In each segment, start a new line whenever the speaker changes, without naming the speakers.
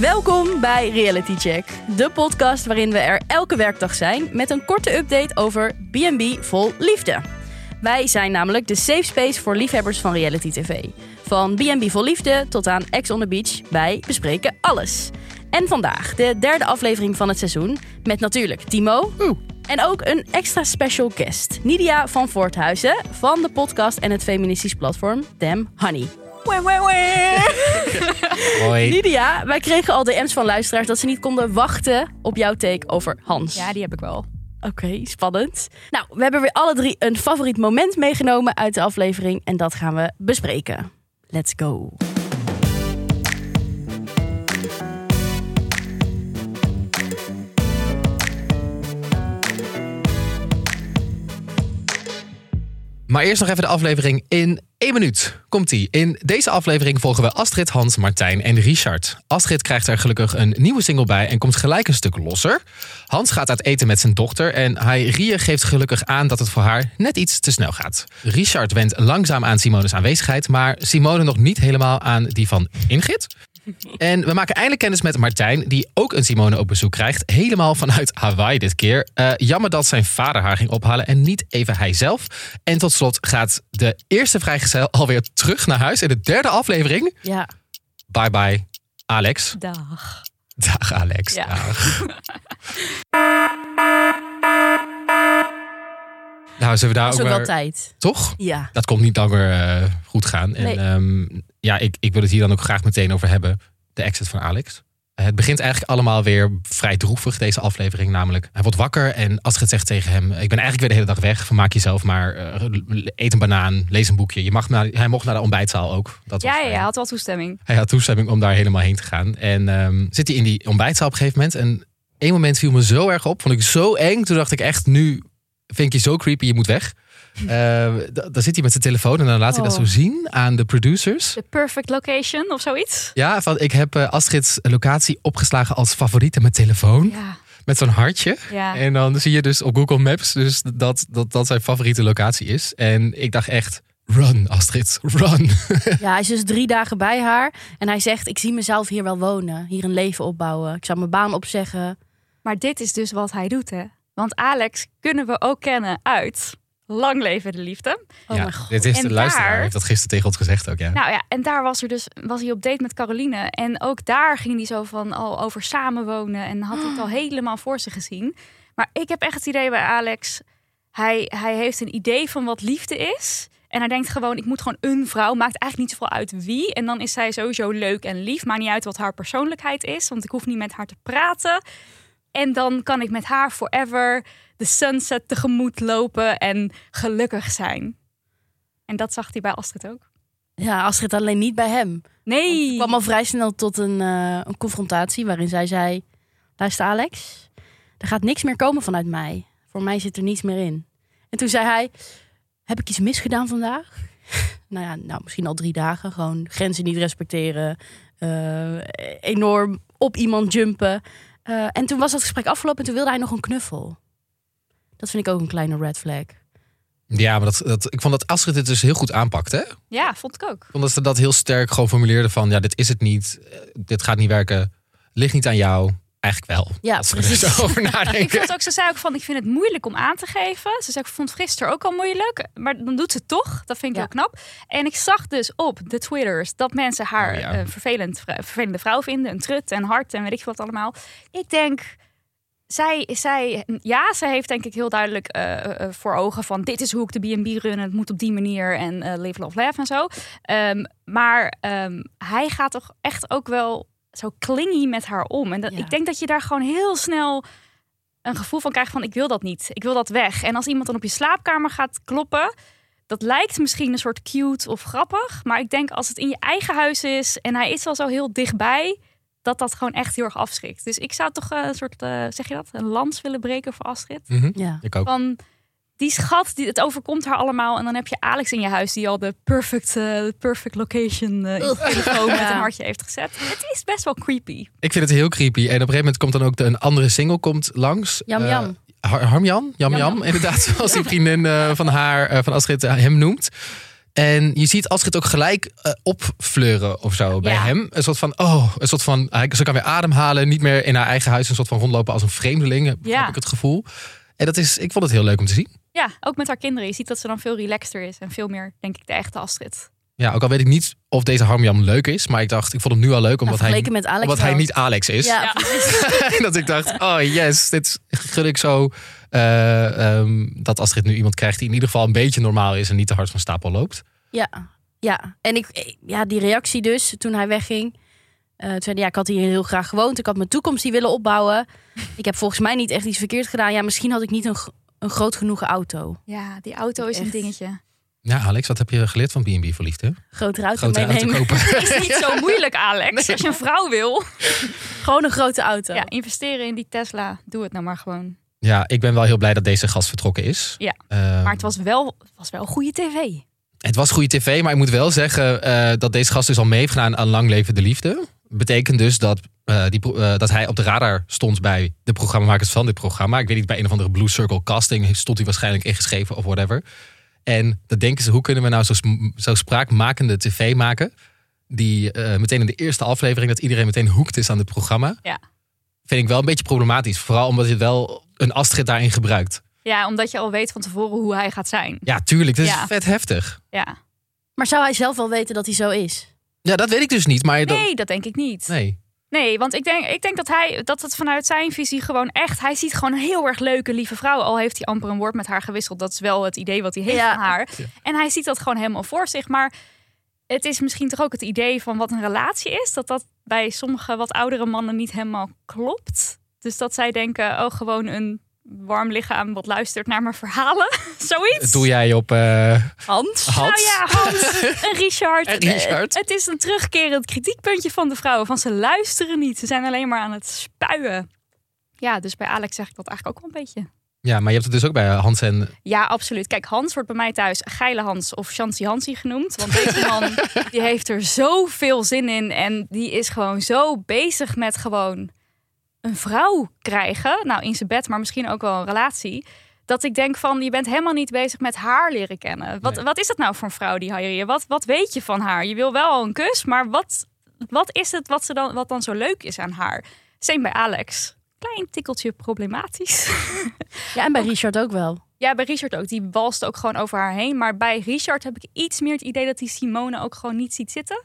Welkom bij Reality Check, de podcast waarin we er elke werkdag zijn met een korte update over B&B vol liefde. Wij zijn namelijk de safe space voor liefhebbers van reality tv. Van B&B vol liefde tot aan Ex on the Beach, wij bespreken alles. En vandaag de derde aflevering van het seizoen met natuurlijk Timo. En ook een extra special guest, Nidia van Voorthuizen van de podcast en het feministisch platform Damn Honey. Wee, wee, wee.
Hoi.
Lydia, wij kregen al DM's van luisteraars dat ze niet konden wachten op jouw take over Hans.
Ja, die heb ik wel.
Oké, spannend. Nou, we hebben weer alle drie een favoriet moment meegenomen uit de aflevering en dat gaan we bespreken. Let's go.
Maar eerst nog even de aflevering in één minuut. Komt-ie. In deze aflevering volgen we Astrid, Hans, Martijn en Richard. Astrid krijgt er gelukkig een nieuwe single bij en komt gelijk een stuk losser. Hans gaat uit eten met zijn dochter en Hairie geeft gelukkig aan dat het voor haar net iets te snel gaat. Richard went langzaam aan Simone's aanwezigheid, maar Simone nog niet helemaal aan die van Ingrid. En we maken eindelijk kennis met Martijn, die ook een Simone op bezoek krijgt. Helemaal vanuit Hawaii dit keer. Eh, jammer dat zijn vader haar ging ophalen en niet even hij zelf. En tot slot gaat de eerste vrijgezel alweer terug naar huis in de derde aflevering.
Ja,
Bye bye, Alex.
Dag.
Dag Alex.
Ja.
Dag. nou, zullen we daar
dat is
ook
ook
maar...
wel tijd.
Toch?
Ja.
dat komt niet langer eh, goed gaan. En
Nee.
ehm, ja, ik, ik wil het hier dan ook graag meteen over hebben. De exit van Alex. Het begint eigenlijk allemaal weer vrij droevig, deze aflevering. Namelijk, hij wordt wakker en Astrid zegt tegen hem... ik ben eigenlijk weer de hele dag weg, vermaak jezelf maar. eh, eet een banaan, lees een boekje. Je mag naar, hij mocht naar de ontbijtzaal ook. Dat was
Ja, ja,
fijn.
ja, had wel toestemming.
Hij had toestemming om daar helemaal heen te gaan. En ehm, zit hij in die ontbijtzaal op een gegeven moment. En één moment viel me zo erg op. Vond ik zo eng. Toen dacht ik echt, nu vind ik je zo creepy, je moet weg. Eh, da- dan zit hij met zijn telefoon en dan laat hij dat
Oh.
zo zien aan de producers.
The perfect location of zoiets.
Ja, van ik heb eh, Astrid's locatie opgeslagen als favoriet in mijn
Hm?
telefoon.
Ja,
Met zo'n hartje.
Eh.
ja.
En dan zie je dus op Google Maps dus dat, dat dat zijn favoriete locatie is. En ik dacht echt, run Astrid, run.
ja, hij is dus drie dagen bij haar en hij zegt, ik zie mezelf hier wel wonen, hier een leven opbouwen. Ik zou mijn baan opzeggen.
Maar dit is dus wat hij doet, hè? Want Alex kunnen we ook kennen uit Lang Leven de Liefde.
Oh
ja,
mijn god.
Dit is
En
de luisteraar,
daar-
heeft dat gisteren tegen ons gezegd ook, ja.
Nou ja, en daar was, er dus, was hij op date met Caroline. En ook daar ging hij zo van al over samenwonen. En had hij het al helemaal voor zich gezien. Maar ik heb echt het idee bij Alex. Hij, hij heeft een idee van wat liefde is. En hij denkt gewoon, ik moet gewoon een vrouw. Maakt eigenlijk niet zoveel uit wie. En dan is zij sowieso leuk en lief. Maakt niet uit wat haar persoonlijkheid is. Want ik hoef niet met haar te praten. En dan kan ik met haar forever de sunset tegemoet lopen. En gelukkig zijn. En dat zag hij bij Astrid ook.
Ja, Astrid alleen niet bij hem.
Nee.
kwam al vrij snel tot een, eh, een confrontatie waarin zij zei: Luister, Alex, er gaat niks meer komen vanuit mij. Voor mij zit er niets meer in. En toen zei hij: Heb ik iets misgedaan vandaag? nou ja, nou, misschien al drie dagen. Gewoon grenzen niet respecteren, eh, enorm op iemand jumpen. Eh, en toen was dat gesprek afgelopen en toen wilde hij nog een knuffel. Dat vind ik ook een kleine red flag.
Ja, maar dat, dat, ik vond dat Astrid het dus heel goed aanpakte. Ik
Ja, vond ik ook.
vond dat ze dat heel sterk gewoon formuleerde van... ja, dit is het niet, eh, dit gaat niet werken, ligt niet aan jou. Eigenlijk wel.
Ja,
als we
precies.
er zo over
Ik
nadenken.
vond ook, ze zei ook van, ik vind het moeilijk om aan te geven. Ze zei, ik vond het gisteren ook al moeilijk. Maar dan doet ze het toch. Dat vind ik
Ja.
heel knap. En ik zag dus op de Twitters dat mensen haar
Oh ja.
eh, vervelend, vri- vervelende vrouw vinden. Een trut en hart en weet ik veel wat allemaal. Ik denk, zij, zij, ja, zij heeft denk ik heel duidelijk eh, eh, voor ogen van... dit is hoe ik de B&B run en het moet op die manier. En eh, live, love, laugh en zo. Ehm, maar ehm, hij gaat toch echt ook wel zo clingy met haar om. En dat,
Ja.
ik denk dat je daar gewoon heel snel een gevoel van krijgt van ik wil dat niet. Ik wil dat weg. En als iemand dan op je slaapkamer gaat kloppen... Dat lijkt misschien een soort cute of grappig. Maar ik denk als het in je eigen huis is en hij is al zo heel dichtbij... dat dat gewoon echt heel erg afschrikt. Dus ik zou toch eh, een soort, eh, zeg je dat? Een lans willen breken voor Astrid.
Mhm,
Ja.
Ik ook.
Van die schat, die, het overkomt haar allemaal. En dan heb je Alex in je huis die al de perfect, eh, perfect location eh, in zijn telefoon met een hartje heeft gezet. Het is best wel creepy.
Ik vind het heel creepy. En op een gegeven moment komt dan ook de, een andere single komt langs.
Jam
Eh,
Jam.
Har- Harmjan? Jam Jam, inderdaad. Zoals die vriendin eh, van haar, eh, van Astrid, eh, hem noemt. En je ziet Astrid ook gelijk eh, opfleuren of zo bij
Ja.
hem. Een soort van, oh, een soort van, hij- ze kan weer ademhalen. Niet meer in haar eigen huis een soort van rondlopen als een vreemdeling. eh, Heb
Ja.
ik het gevoel. En dat is, ik vond het heel leuk om te zien.
Ja, ook met haar kinderen. Je ziet dat ze dan veel relaxter is en veel meer, denk ik, de echte Astrid.
Ja, ook al weet ik niet of deze Harmjan leuk is. Maar ik dacht, ik vond hem nu al leuk omdat, hij,
Nou, vergeleken met Alex
omdat hij
wel.
niet Alex is.
Ja,
Ja.
precies.
dat ik dacht, oh yes, dit gun ik zo. eh, ehm, dat Astrid nu iemand krijgt die in ieder geval een beetje normaal is en niet te hard van stapel loopt.
ja. ja. En ik, eh, ja, die reactie dus toen hij wegging. Eh, toen zei hij, ja, ik had hier heel graag gewoond. Ik had mijn toekomst hier willen opbouwen. Ik heb volgens mij niet echt iets verkeerd gedaan. Ja, misschien had ik niet een, gro- een groot genoeg auto.
Ja, die auto is
Echt.
een dingetje.
Ja, Alex, wat heb je geleerd van B&B voor liefde?
Grotere auto
Grote auto
meenemen.
kopen.
Is niet zo moeilijk, Alex. Als je een vrouw wil.
Gewoon een grote auto.
Ja, investeren in die Tesla. Doe het nou maar gewoon.
Ja, ik ben wel heel blij dat deze gast vertrokken is.
Ja,
Ehm,
Maar het was wel, het was wel goede tv.
het was goede tv, maar ik moet wel zeggen eh, dat deze gast dus al mee heeft gedaan aan Lang Leven de Liefde. Betekent dus dat, eh, die, pro- eh, dat hij op de radar stond bij de programmamakers van dit programma. Ik weet niet, bij een of andere Blue Circle casting stond hij waarschijnlijk ingeschreven of whatever. En dan denken ze, hoe kunnen we nou zo, sm- zo spraakmakende tv maken? Die eh, meteen in de eerste aflevering, dat iedereen meteen hoekt is aan dit programma.
Ja.
Vind ik wel een beetje problematisch. Vooral omdat je wel een Astrid daarin gebruikt.
Ja, omdat je al weet van tevoren hoe hij gaat zijn.
Ja, tuurlijk. Dat is
Ja.
vet heftig.
Ja.
Maar zou hij zelf wel weten dat hij zo is?
Ja, dat weet ik dus niet. Maar dat-
Nee, dat denk ik niet.
nee.
Nee, want ik denk, ik denk dat, hij, dat het vanuit zijn visie gewoon echt... Hij ziet gewoon een heel erg leuke, lieve vrouw. Al heeft hij amper een woord met haar gewisseld. Dat is wel het idee wat hij heeft
Ja.
van haar.
Ja.
En hij ziet dat gewoon helemaal voor zich. Maar het is misschien toch ook het idee van wat een relatie is. Dat dat bij sommige wat oudere mannen niet helemaal klopt. Dus dat zij denken, oh gewoon een warm lichaam wat luistert naar mijn verhalen. Zoiets.
Dat doe jij op eh,
Hans?
Hans.
Nou ja, Hans en Richard.
En Richard.
Eh, Het is een terugkerend kritiekpuntje van de vrouwen. Van ze luisteren niet. Ze zijn alleen maar aan het spuien. Ja, dus bij Alex zeg ik dat eigenlijk ook wel een beetje.
Ja, maar je hebt het dus ook bij Hans en...
Ja, absoluut. Kijk, Hans wordt bij mij thuis Geile Hans of Chancy Hansie genoemd. Want deze man die heeft er zoveel zin in. En die is gewoon zo bezig met gewoon een vrouw krijgen. Nou, in zijn bed, maar misschien ook wel een relatie. Dat ik denk van, je bent helemaal niet bezig met haar leren kennen. Wat,
Nee.
wat is dat nou voor een vrouw die hij Wat, wat weet je van haar? Je wil wel een kus, maar wat, wat is het wat, ze dan, wat dan zo leuk is aan haar? Same bij Alex. Klein tikkeltje problematisch.
Ja, en bij Richard ook wel.
Ja, bij Richard ook. Die walst ook gewoon over haar heen. Maar bij Richard heb ik iets meer het idee dat die Simone ook gewoon niet ziet zitten.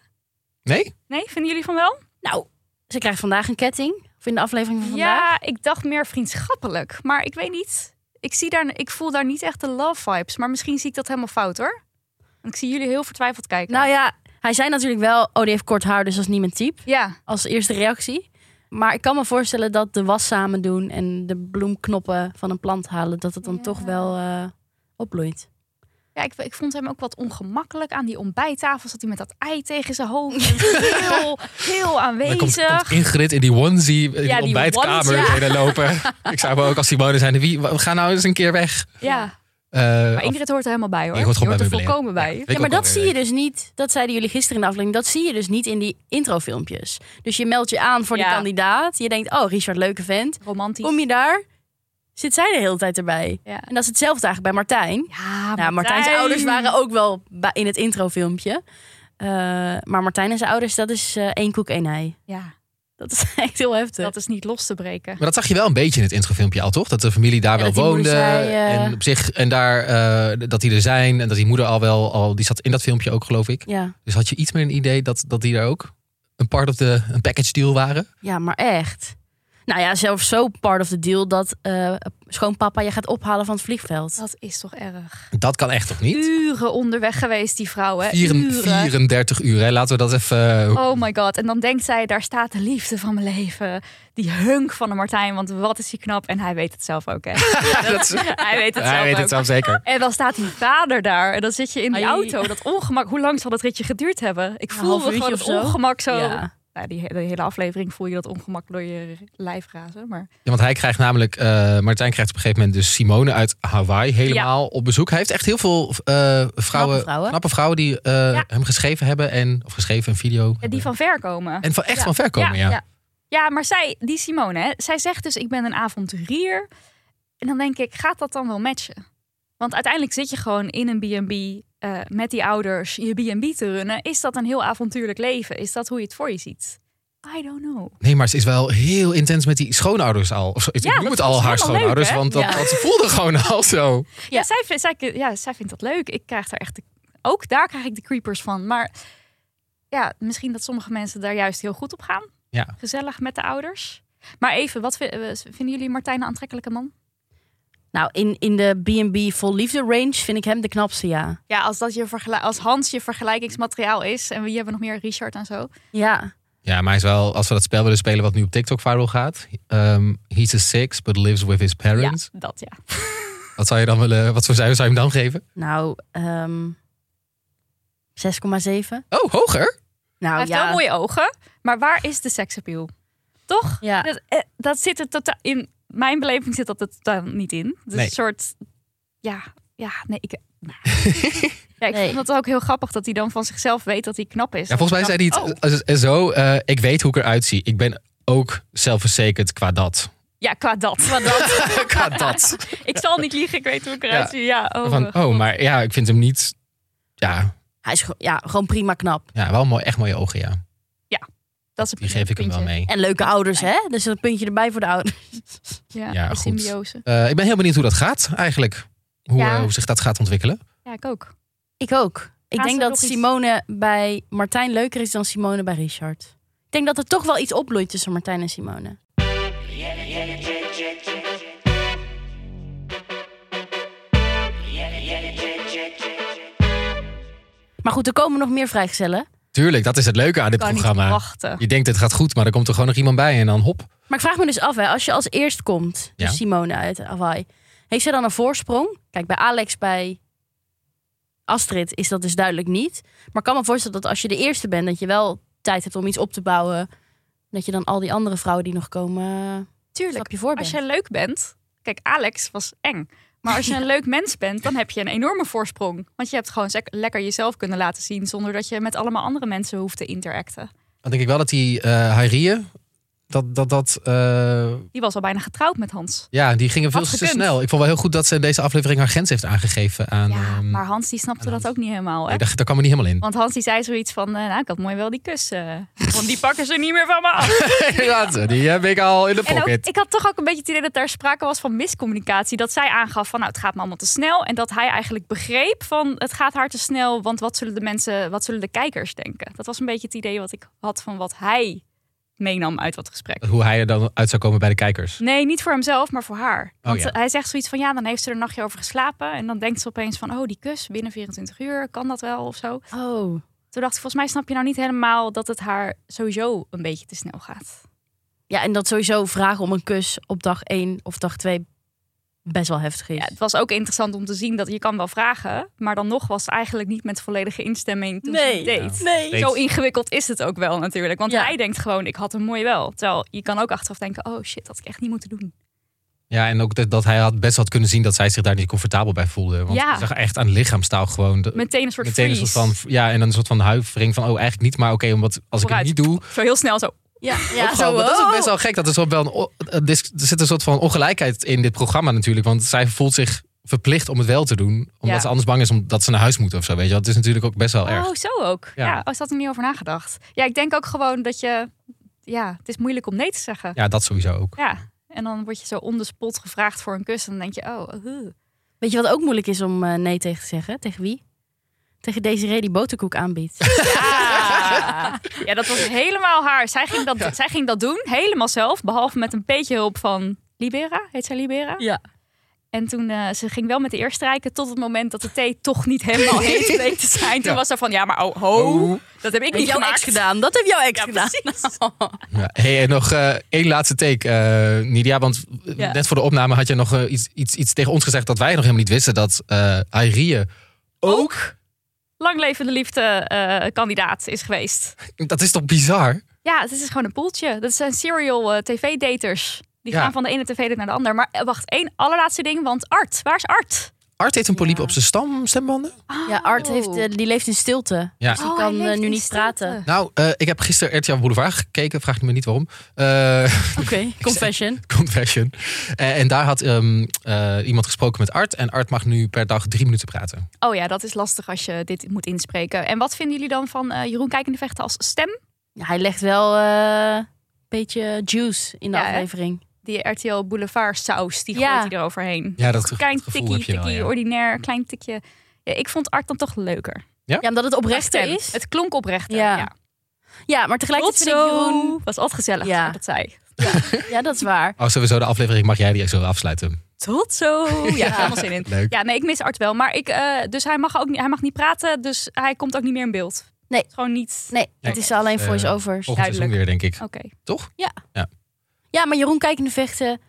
Nee?
Nee, vinden jullie van wel?
Nou, ze krijgt vandaag een ketting. Of in de aflevering van vandaag.
Ja, ik dacht meer vriendschappelijk. Maar ik weet niet. Ik, zie daar, ik voel daar niet echt de love vibes. Maar misschien zie ik dat helemaal fout hoor. Want ik zie jullie heel vertwijfeld kijken.
Nou ja, hij zei natuurlijk wel, oh die heeft kort haar, dus dat is niet mijn type.
ja.
Als eerste reactie. Maar ik kan me voorstellen dat de was samen doen en de bloemknoppen van een plant halen, dat het dan
Ja.
toch wel eh, opbloeit.
Ja, ik, ik vond hem ook wat ongemakkelijk aan die ontbijttafel. Zat hij met dat ei tegen zijn hoofd. Heel, heel
Dan
aanwezig.
komt, komt Ingrid in die onesie in
Ja,
de
die
ontbijtkamer
onesie, ja.
binnen lopen. ik zou me ook als Simone zijn. Wie, we gaan nou eens een keer weg.
Ja,
Eh,
maar Ingrid hoort er helemaal bij hoor.
Die hoort
Die
gewoon bij
er
meubilair.
volkomen bij.
Ja, weet
Ja,
ik
maar
ook
dat
alweer.
zie je dus niet, dat zeiden jullie gisteren in de aflevering, dat zie je dus niet in die introfilmpjes. Dus je meldt je aan voor die
Ja.
kandidaat. Je denkt, oh Richard, leuke vent.
Romantisch.
Kom je daar, zit zij de hele tijd erbij.
Ja.
En dat is hetzelfde eigenlijk bij Martijn.
Ja,
Nou, Martijn's ouders waren ook wel bij- in het introfilmpje. Eh maar Martijn en zijn ouders, dat is eh, één koek, één ei.
Ja,
Dat is echt heel heftig.
dat is niet los te breken.
maar dat zag je wel een beetje in het introfilmpje al, toch? Dat de familie daar
Ja,
wel
dat die
woonde.
moeder zei, eh,
En op zich, en daar, eh, dat die er zijn. En dat die moeder al wel, al, die zat in dat filmpje ook, geloof ik.
Ja.
Dus had je iets meer een idee dat, dat die daar ook een part of de een package deal waren?
ja, maar echt. Nou ja, zelfs zo part of the deal dat eh, schoonpapa je gaat ophalen van het vliegveld.
Dat is toch erg.
Dat kan echt toch niet?
Uren onderweg geweest, die vrouw, hè?
Vieren-
Uren.
34 uur, hè? laten we dat even... eh,
Oh my god. En dan denkt zij, daar staat de liefde van mijn leven. Die hunk van de Martijn, want wat is hij knap. En hij weet het zelf ook, hè?
dat is-
hij weet het zelf
Hij weet
ook.
het zelf zeker.
En dan staat die vader daar. En dan zit je in die
Ai.
auto. Dat ongemak. Hoe lang zal dat ritje geduurd hebben? Ik
Een
voel
half
gewoon het
uurtje of zo.
ongemak zo.
Ja.
Nou, die, he- de hele aflevering voel je dat ongemak door je lijf razen. Maar
Ja, want hij krijgt namelijk, eh, Martijn krijgt op een gegeven moment dus Simone uit Hawaii helemaal op bezoek. Hij heeft echt heel veel eh, vrouwen,
Knappe vrouwen.
vrouwen die eh,
Ja.
hem geschreven hebben en of geschreven een video.
ja, die van ver komen.
En van echt
Ja.
van ver komen, ja.
ja. Ja, maar zij, die Simone, hè, zij zegt dus ik ben een avonturier. En dan denk ik, gaat dat dan wel matchen? Want uiteindelijk zit je gewoon in een B&B eh, met die ouders je B&B te runnen. Is dat een heel avontuurlijk leven? Is dat hoe je het voor je ziet? I don't know.
Nee, maar ze is wel heel intens met die schoonouders al. Of zo. Ik
Ja,
noem
dat
het
is
al haar
helemaal leuk,
schoonouders,
hè?
want dat,
Ja.
dat voelde gewoon al zo.
Ja. zij, vindt- zij, ja, zij vindt dat leuk. Ik krijg daar echt... De, ook daar krijg ik de creepers van. Maar ja, misschien dat sommige mensen daar juist heel goed op gaan.
Ja.
Gezellig met de ouders. Maar even, wat vin- eh, vinden jullie Martijn een aantrekkelijke man?
Nou, in, in de B&B vol liefde range vind ik hem de knapste, ja.
Ja, als, dat je vergelijk, als Hans je vergelijkingsmateriaal is. En wie hebben nog meer? Richard en zo.
Ja,
Ja, maar hij is wel, als we dat spel willen spelen wat nu op TikTok viral gaat. ehm, he's a six, but lives with his parents.
Ja, dat ja.
Wat zou je dan willen, wat voor cijfer zou je hem dan geven?
nou, ehm 6,7.
Oh, hoger?
Nou,
Hij heeft
ja.
wel mooie ogen, maar waar is de seksappeal? Toch?
Ja.
Dat, eh, dat zit er totaal in. Mijn beleving zit dat er totaal niet in. Dus
Nee.
een soort. Ja, ja, nee. Ik, nou. ja, ik
Nee.
vond het ook heel grappig dat hij dan van zichzelf weet dat hij knap is.
Ja, volgens mij
Dan
zei hij
dacht ik, oh.
het eh, eh, zo. eh, ik weet hoe ik eruit zie. Ik ben ook zelfverzekerd qua dat.
Ja, qua dat. Qua dat.
qua dat.
ik zal niet liegen, ik weet hoe ik eruit
Ja.
zie. Ja, oh,
Van,
eh,
oh, maar ja, ik vind hem niet... Ja,
Hij is ge- ja, gewoon prima knap.
ja wel mooi, echt mooie ogen, ja.
dat is een
Die geef ik hem wel
puntje.
mee.
En leuke ouders, hè? Dus een puntje erbij voor de ouders.
Ja,
Ja,
de
goed.
symbiose.
Eh, ik ben heel benieuwd hoe dat gaat eigenlijk. Hoe,
Ja.
eh, hoe zich dat gaat ontwikkelen.
Ja, ik ook.
Ik ook. Ik
Gaan
denk
ze
dat
nog iets-
Simone bij Martijn leuker is dan Simone bij Richard. Ik denk dat er toch wel iets opbloeit tussen Martijn en Simone. Maar goed, er komen nog meer vrijgezellen.
Tuurlijk, dat is het leuke aan dit
Kan niet
programma.
wachten.
Je denkt het gaat goed, maar er komt er gewoon nog iemand bij en dan hop.
Maar ik vraag me dus af, hè, als je als eerst komt, dus
Ja.
Simone uit Hawaii, heeft zij dan een voorsprong? Kijk, bij Alex, bij Astrid is dat dus duidelijk niet. Maar ik kan me voorstellen dat als je de eerste bent, dat je wel tijd hebt om iets op te bouwen. Dat je dan al die andere vrouwen die nog komen, een
Tuurlijk.
stapje voor bent.
Als jij leuk bent, kijk, Alex was eng. Maar als je een leuk mens bent, dan heb je een enorme voorsprong. Want je hebt gewoon zek- lekker jezelf kunnen laten zien zonder dat je met allemaal andere mensen hoeft te interacten.
Dan denk ik wel dat die eh Hairieën, dat, dat, dat, eh,
Die was al bijna getrouwd met Hans.
ja, die gingen veel
Had
te
gekund.
snel. Ik vond wel heel goed dat ze in deze aflevering haar grens heeft aangegeven aan...
Ja,
ehm,
maar Hans die snapte
en
dat
Hans.
ook niet helemaal. Hè?
nee, daar, daar kwam er niet helemaal in.
Want Hans die zei zoiets van, eh, nou, ik had mooi wel die kussen. Want die pakken ze niet meer van me af.
Inderdaad, die heb ik al in de
En ook,
pocket.
ik had toch ook een beetje het idee dat daar sprake was van miscommunicatie. Dat zij aangaf van, nou, het gaat me allemaal te snel. En dat hij eigenlijk begreep van, het gaat haar te snel. Want wat zullen de mensen, wat zullen de kijkers denken? Dat was een beetje het idee wat ik had van wat hij meenam uit dat gesprek.
Hoe hij er dan uit zou komen bij de kijkers.
Nee, niet voor hemzelf, maar voor haar. Want
Oh, ja.
hij zegt zoiets van, ja, dan heeft ze er een nachtje over geslapen. En dan denkt ze opeens van, oh, die kus binnen 24 uur, kan dat wel of zo?
Oh,
Toen dacht ik, volgens mij snap je nou niet helemaal dat het haar sowieso een beetje te snel gaat.
ja, en dat sowieso vragen om een kus op dag 1 of dag 2 best wel heftig is.
Ja, het was ook interessant om te zien dat je kan wel vragen, maar dan nog was het eigenlijk niet met volledige instemming toen ze
nee,
het deed.
nee.
Steeds.
Zo ingewikkeld is het ook wel natuurlijk, want
Ja.
hij denkt gewoon ik had een mooi wel. Terwijl je kan ook achteraf denken, oh shit, dat had ik echt niet moeten doen.
Ja, en ook dat, dat hij had best had kunnen zien dat zij zich daar niet comfortabel bij voelde. Want
Ja.
je zag echt aan de lichaamstaal gewoon... de-
Meteen een soort
Eh, meteen een soort
freeze.
van, ja, en dan een soort van huivering van, oh, eigenlijk niet, maar oké, omdat als
Vooruit.
ik het niet doe...
Zo heel snel zo.
Ja,
ook
ja
gewoon-
zo
want dat is ook
oh.
best wel gek. Dat is wel wel een, o- een dis- er zit een soort van ongelijkheid in dit programma natuurlijk. Want zij voelt zich verplicht om het wel te doen. Omdat
Ja.
ze anders bang is omdat ze naar huis moet of zo. Weet je. wel. Dat is natuurlijk ook best wel erg.
Oh, zo ook.
Ja.
Ja, oh, is dat er niet over nagedacht? Ja, ik denk ook gewoon dat je, ja, het is moeilijk om nee te zeggen.
Ja, dat sowieso ook.
Ja. En dan word je zo on the spot gevraagd voor een kus. En dan denk je, oh, uh.
Weet je wat ook moeilijk is om eh, nee tegen te zeggen? Tegen wie? Tegen Desiree die boterkoek aanbiedt.
Ja. Ah. ja, dat was helemaal haar. Zij ging dat, zij ging dat doen, helemaal zelf. Behalve met een beetje hulp van Libera. Heet zij Libera?
ja.
En toen eh, ze ging wel met de eerste strijken tot het moment dat de thee toch niet helemaal heet bleek te zijn. Toen
Ja.
was ze van, ja, maar oh, ho,
Oh.
dat heb ik
Heb
niet
jouw
gemaakt.
ex gedaan? Dat heb jouw ex
Ja,
gedaan.
Ja. Hey, en nog eh, één laatste take, eh, Nidia. Want eh,
Ja.
net voor de opname had je nog eh, iets, iets, iets tegen ons gezegd dat wij nog helemaal niet wisten. Dat eh Airie ook...
Lang levende liefde eh, kandidaat is geweest.
Dat is toch bizar?
Ja, het is gewoon een poeltje. Dat zijn serial eh, tv-daters. Die
Ja.
gaan van de ene tv-date naar de ander. Maar eh, wacht, één allerlaatste ding. Want Art, waar is Art?
Art heeft een poliep
Ja.
op zijn stam, stembanden.
Ja, Art heeft,
Oh.
eh, die leeft in stilte.
Ja.
Dus die kan eh, nu niet praten.
Nou, eh, ik heb gisteren RTL Boulevard gekeken. Vraag me niet waarom. Eh,
Oké, confession.
confession. Eh, en daar had ehm, eh, iemand gesproken met Art. En Art mag nu per dag drie minuten praten.
Oh ja, dat is lastig als je dit moet inspreken. En wat vinden jullie dan van eh, Jeroen Kijkende Vechten als stem?
Ja, hij legt wel eh, een beetje juice in de
Ja, hè?
aflevering.
Die RTL Boulevard saus, die
Ja.
gooit hij eroverheen.
Ja, dat
Klein
gevoel
tikkie,
heb je wel,
tikkie,
ja.
ordinair, klein tikje. Ja, ik vond Art dan toch leuker.
Ja, omdat het oprechter
Stem.
is.
Het klonk oprechter.
Ja.
Ja.
Ja, maar tegelijkertijd vind ik Jeroen...
Was altijd gezellig,
Ja.
dat zei.
Ja, dat is waar.
Oh, sowieso de aflevering mag jij die zo afsluiten.
Tot zo. Ja, helemaal zin in.
Leuk.
Ja, nee, ik mis Art wel. Maar ik, eh, dus hij mag ook niet, hij mag niet praten, dus hij komt ook niet meer in beeld.
Nee.
Gewoon niet.
Nee, het is alleen
eh,
voice-overs.
Volgend
Duidelijk. Oh.
seizoen weer, denk ik.
Oké.
Toch?
Ja, maar Jeroen kijkende vechten...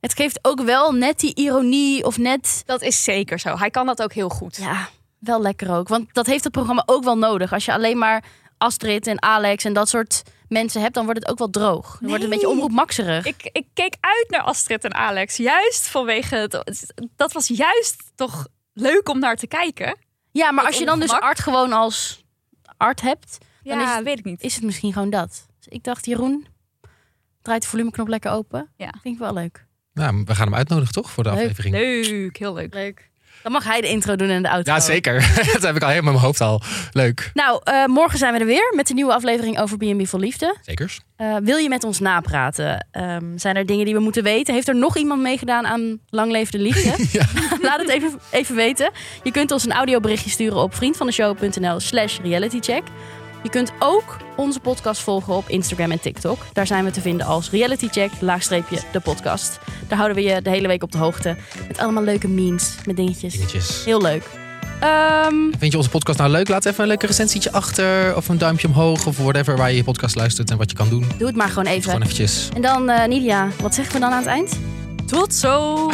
Het geeft ook wel net die ironie of net...
Dat is zeker zo. Hij kan dat ook heel goed.
Ja, wel lekker ook. Want dat heeft het programma ook wel nodig. Als je alleen maar Astrid en Alex en dat soort mensen hebt... dan wordt het ook wel droog. Dan wordt het een
Nee.
beetje omroepmakserig.
Ik, ik keek uit naar Astrid en Alex. Juist vanwege het. Dat was juist toch leuk om naar te kijken.
Ja, maar
dat
als je dan dus
ongemak.
Art gewoon als Art hebt... Dan is het-
weet ik niet.
is het misschien gewoon dat. Dus ik dacht, Jeroen, draait de volumeknop lekker open.
Ja.
Vind ik wel leuk.
Nou, we gaan hem uitnodigen, toch? Voor de
Leuk.
aflevering.
Leuk, heel leuk.
Leuk. Dan mag hij de intro doen en de outro.
Ja, zeker. dat heb ik al helemaal in mijn hoofd al. Leuk.
Nou, eh, morgen zijn we er weer met een nieuwe aflevering over B&B voor Liefde.
Zekers.
Eh, wil je met ons napraten? Ehm, zijn er dingen die we moeten weten? Heeft er nog iemand meegedaan aan Lang Leefde Liefde?
Ja.
Laat het even, even weten. Je kunt ons een audioberichtje sturen op vriendvandeshow.nl slash realitycheck. Je kunt ook onze podcast volgen op Instagram en TikTok. Daar zijn we te vinden als realitycheck, laagstreepje, de podcast. Daar houden we je de hele week op de hoogte. Met allemaal leuke memes, met dingetjes.
Dingetjes.
Heel leuk. Ehm,
Vind je onze podcast nou leuk? Laat even een leuke recensietje achter. Of een duimpje omhoog. Of whatever waar je je podcast luistert en wat je kan doen.
doe het maar gewoon even.
Gewoon eventjes.
En dan, eh Nidia, wat zeggen we dan aan het eind?
Tot zo.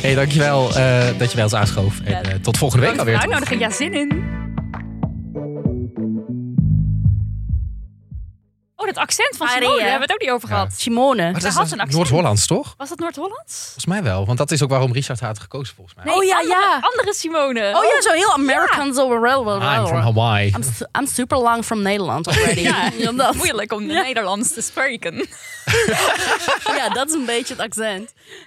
hey, dankjewel eh, dat je bij ons aanschoof. En eh, tot volgende week alweer. toch?
Uitnodigen, ja, zin in. Oh, dat accent van
Arie,
Simone, daar
hè?
hebben we het ook niet over
Ja.
gehad.
Simone.
Hij
Maar dat
had
is
een accent.
Noord-Hollands, toch?
Was dat Noord-Hollands?
Volgens mij wel. Want dat is ook waarom Richard haar had gekozen, volgens mij.
Nee, Oh ja,
andere,
ja.
Andere Simone.
Oh ja, zo heel American. zo railroad.
Ah, I'm from Hawaii.
I'm, su- I'm super lang from Nederland already. ja, dat.
Moeilijk om Nederlands te spreken.
ja, dat is een beetje het accent.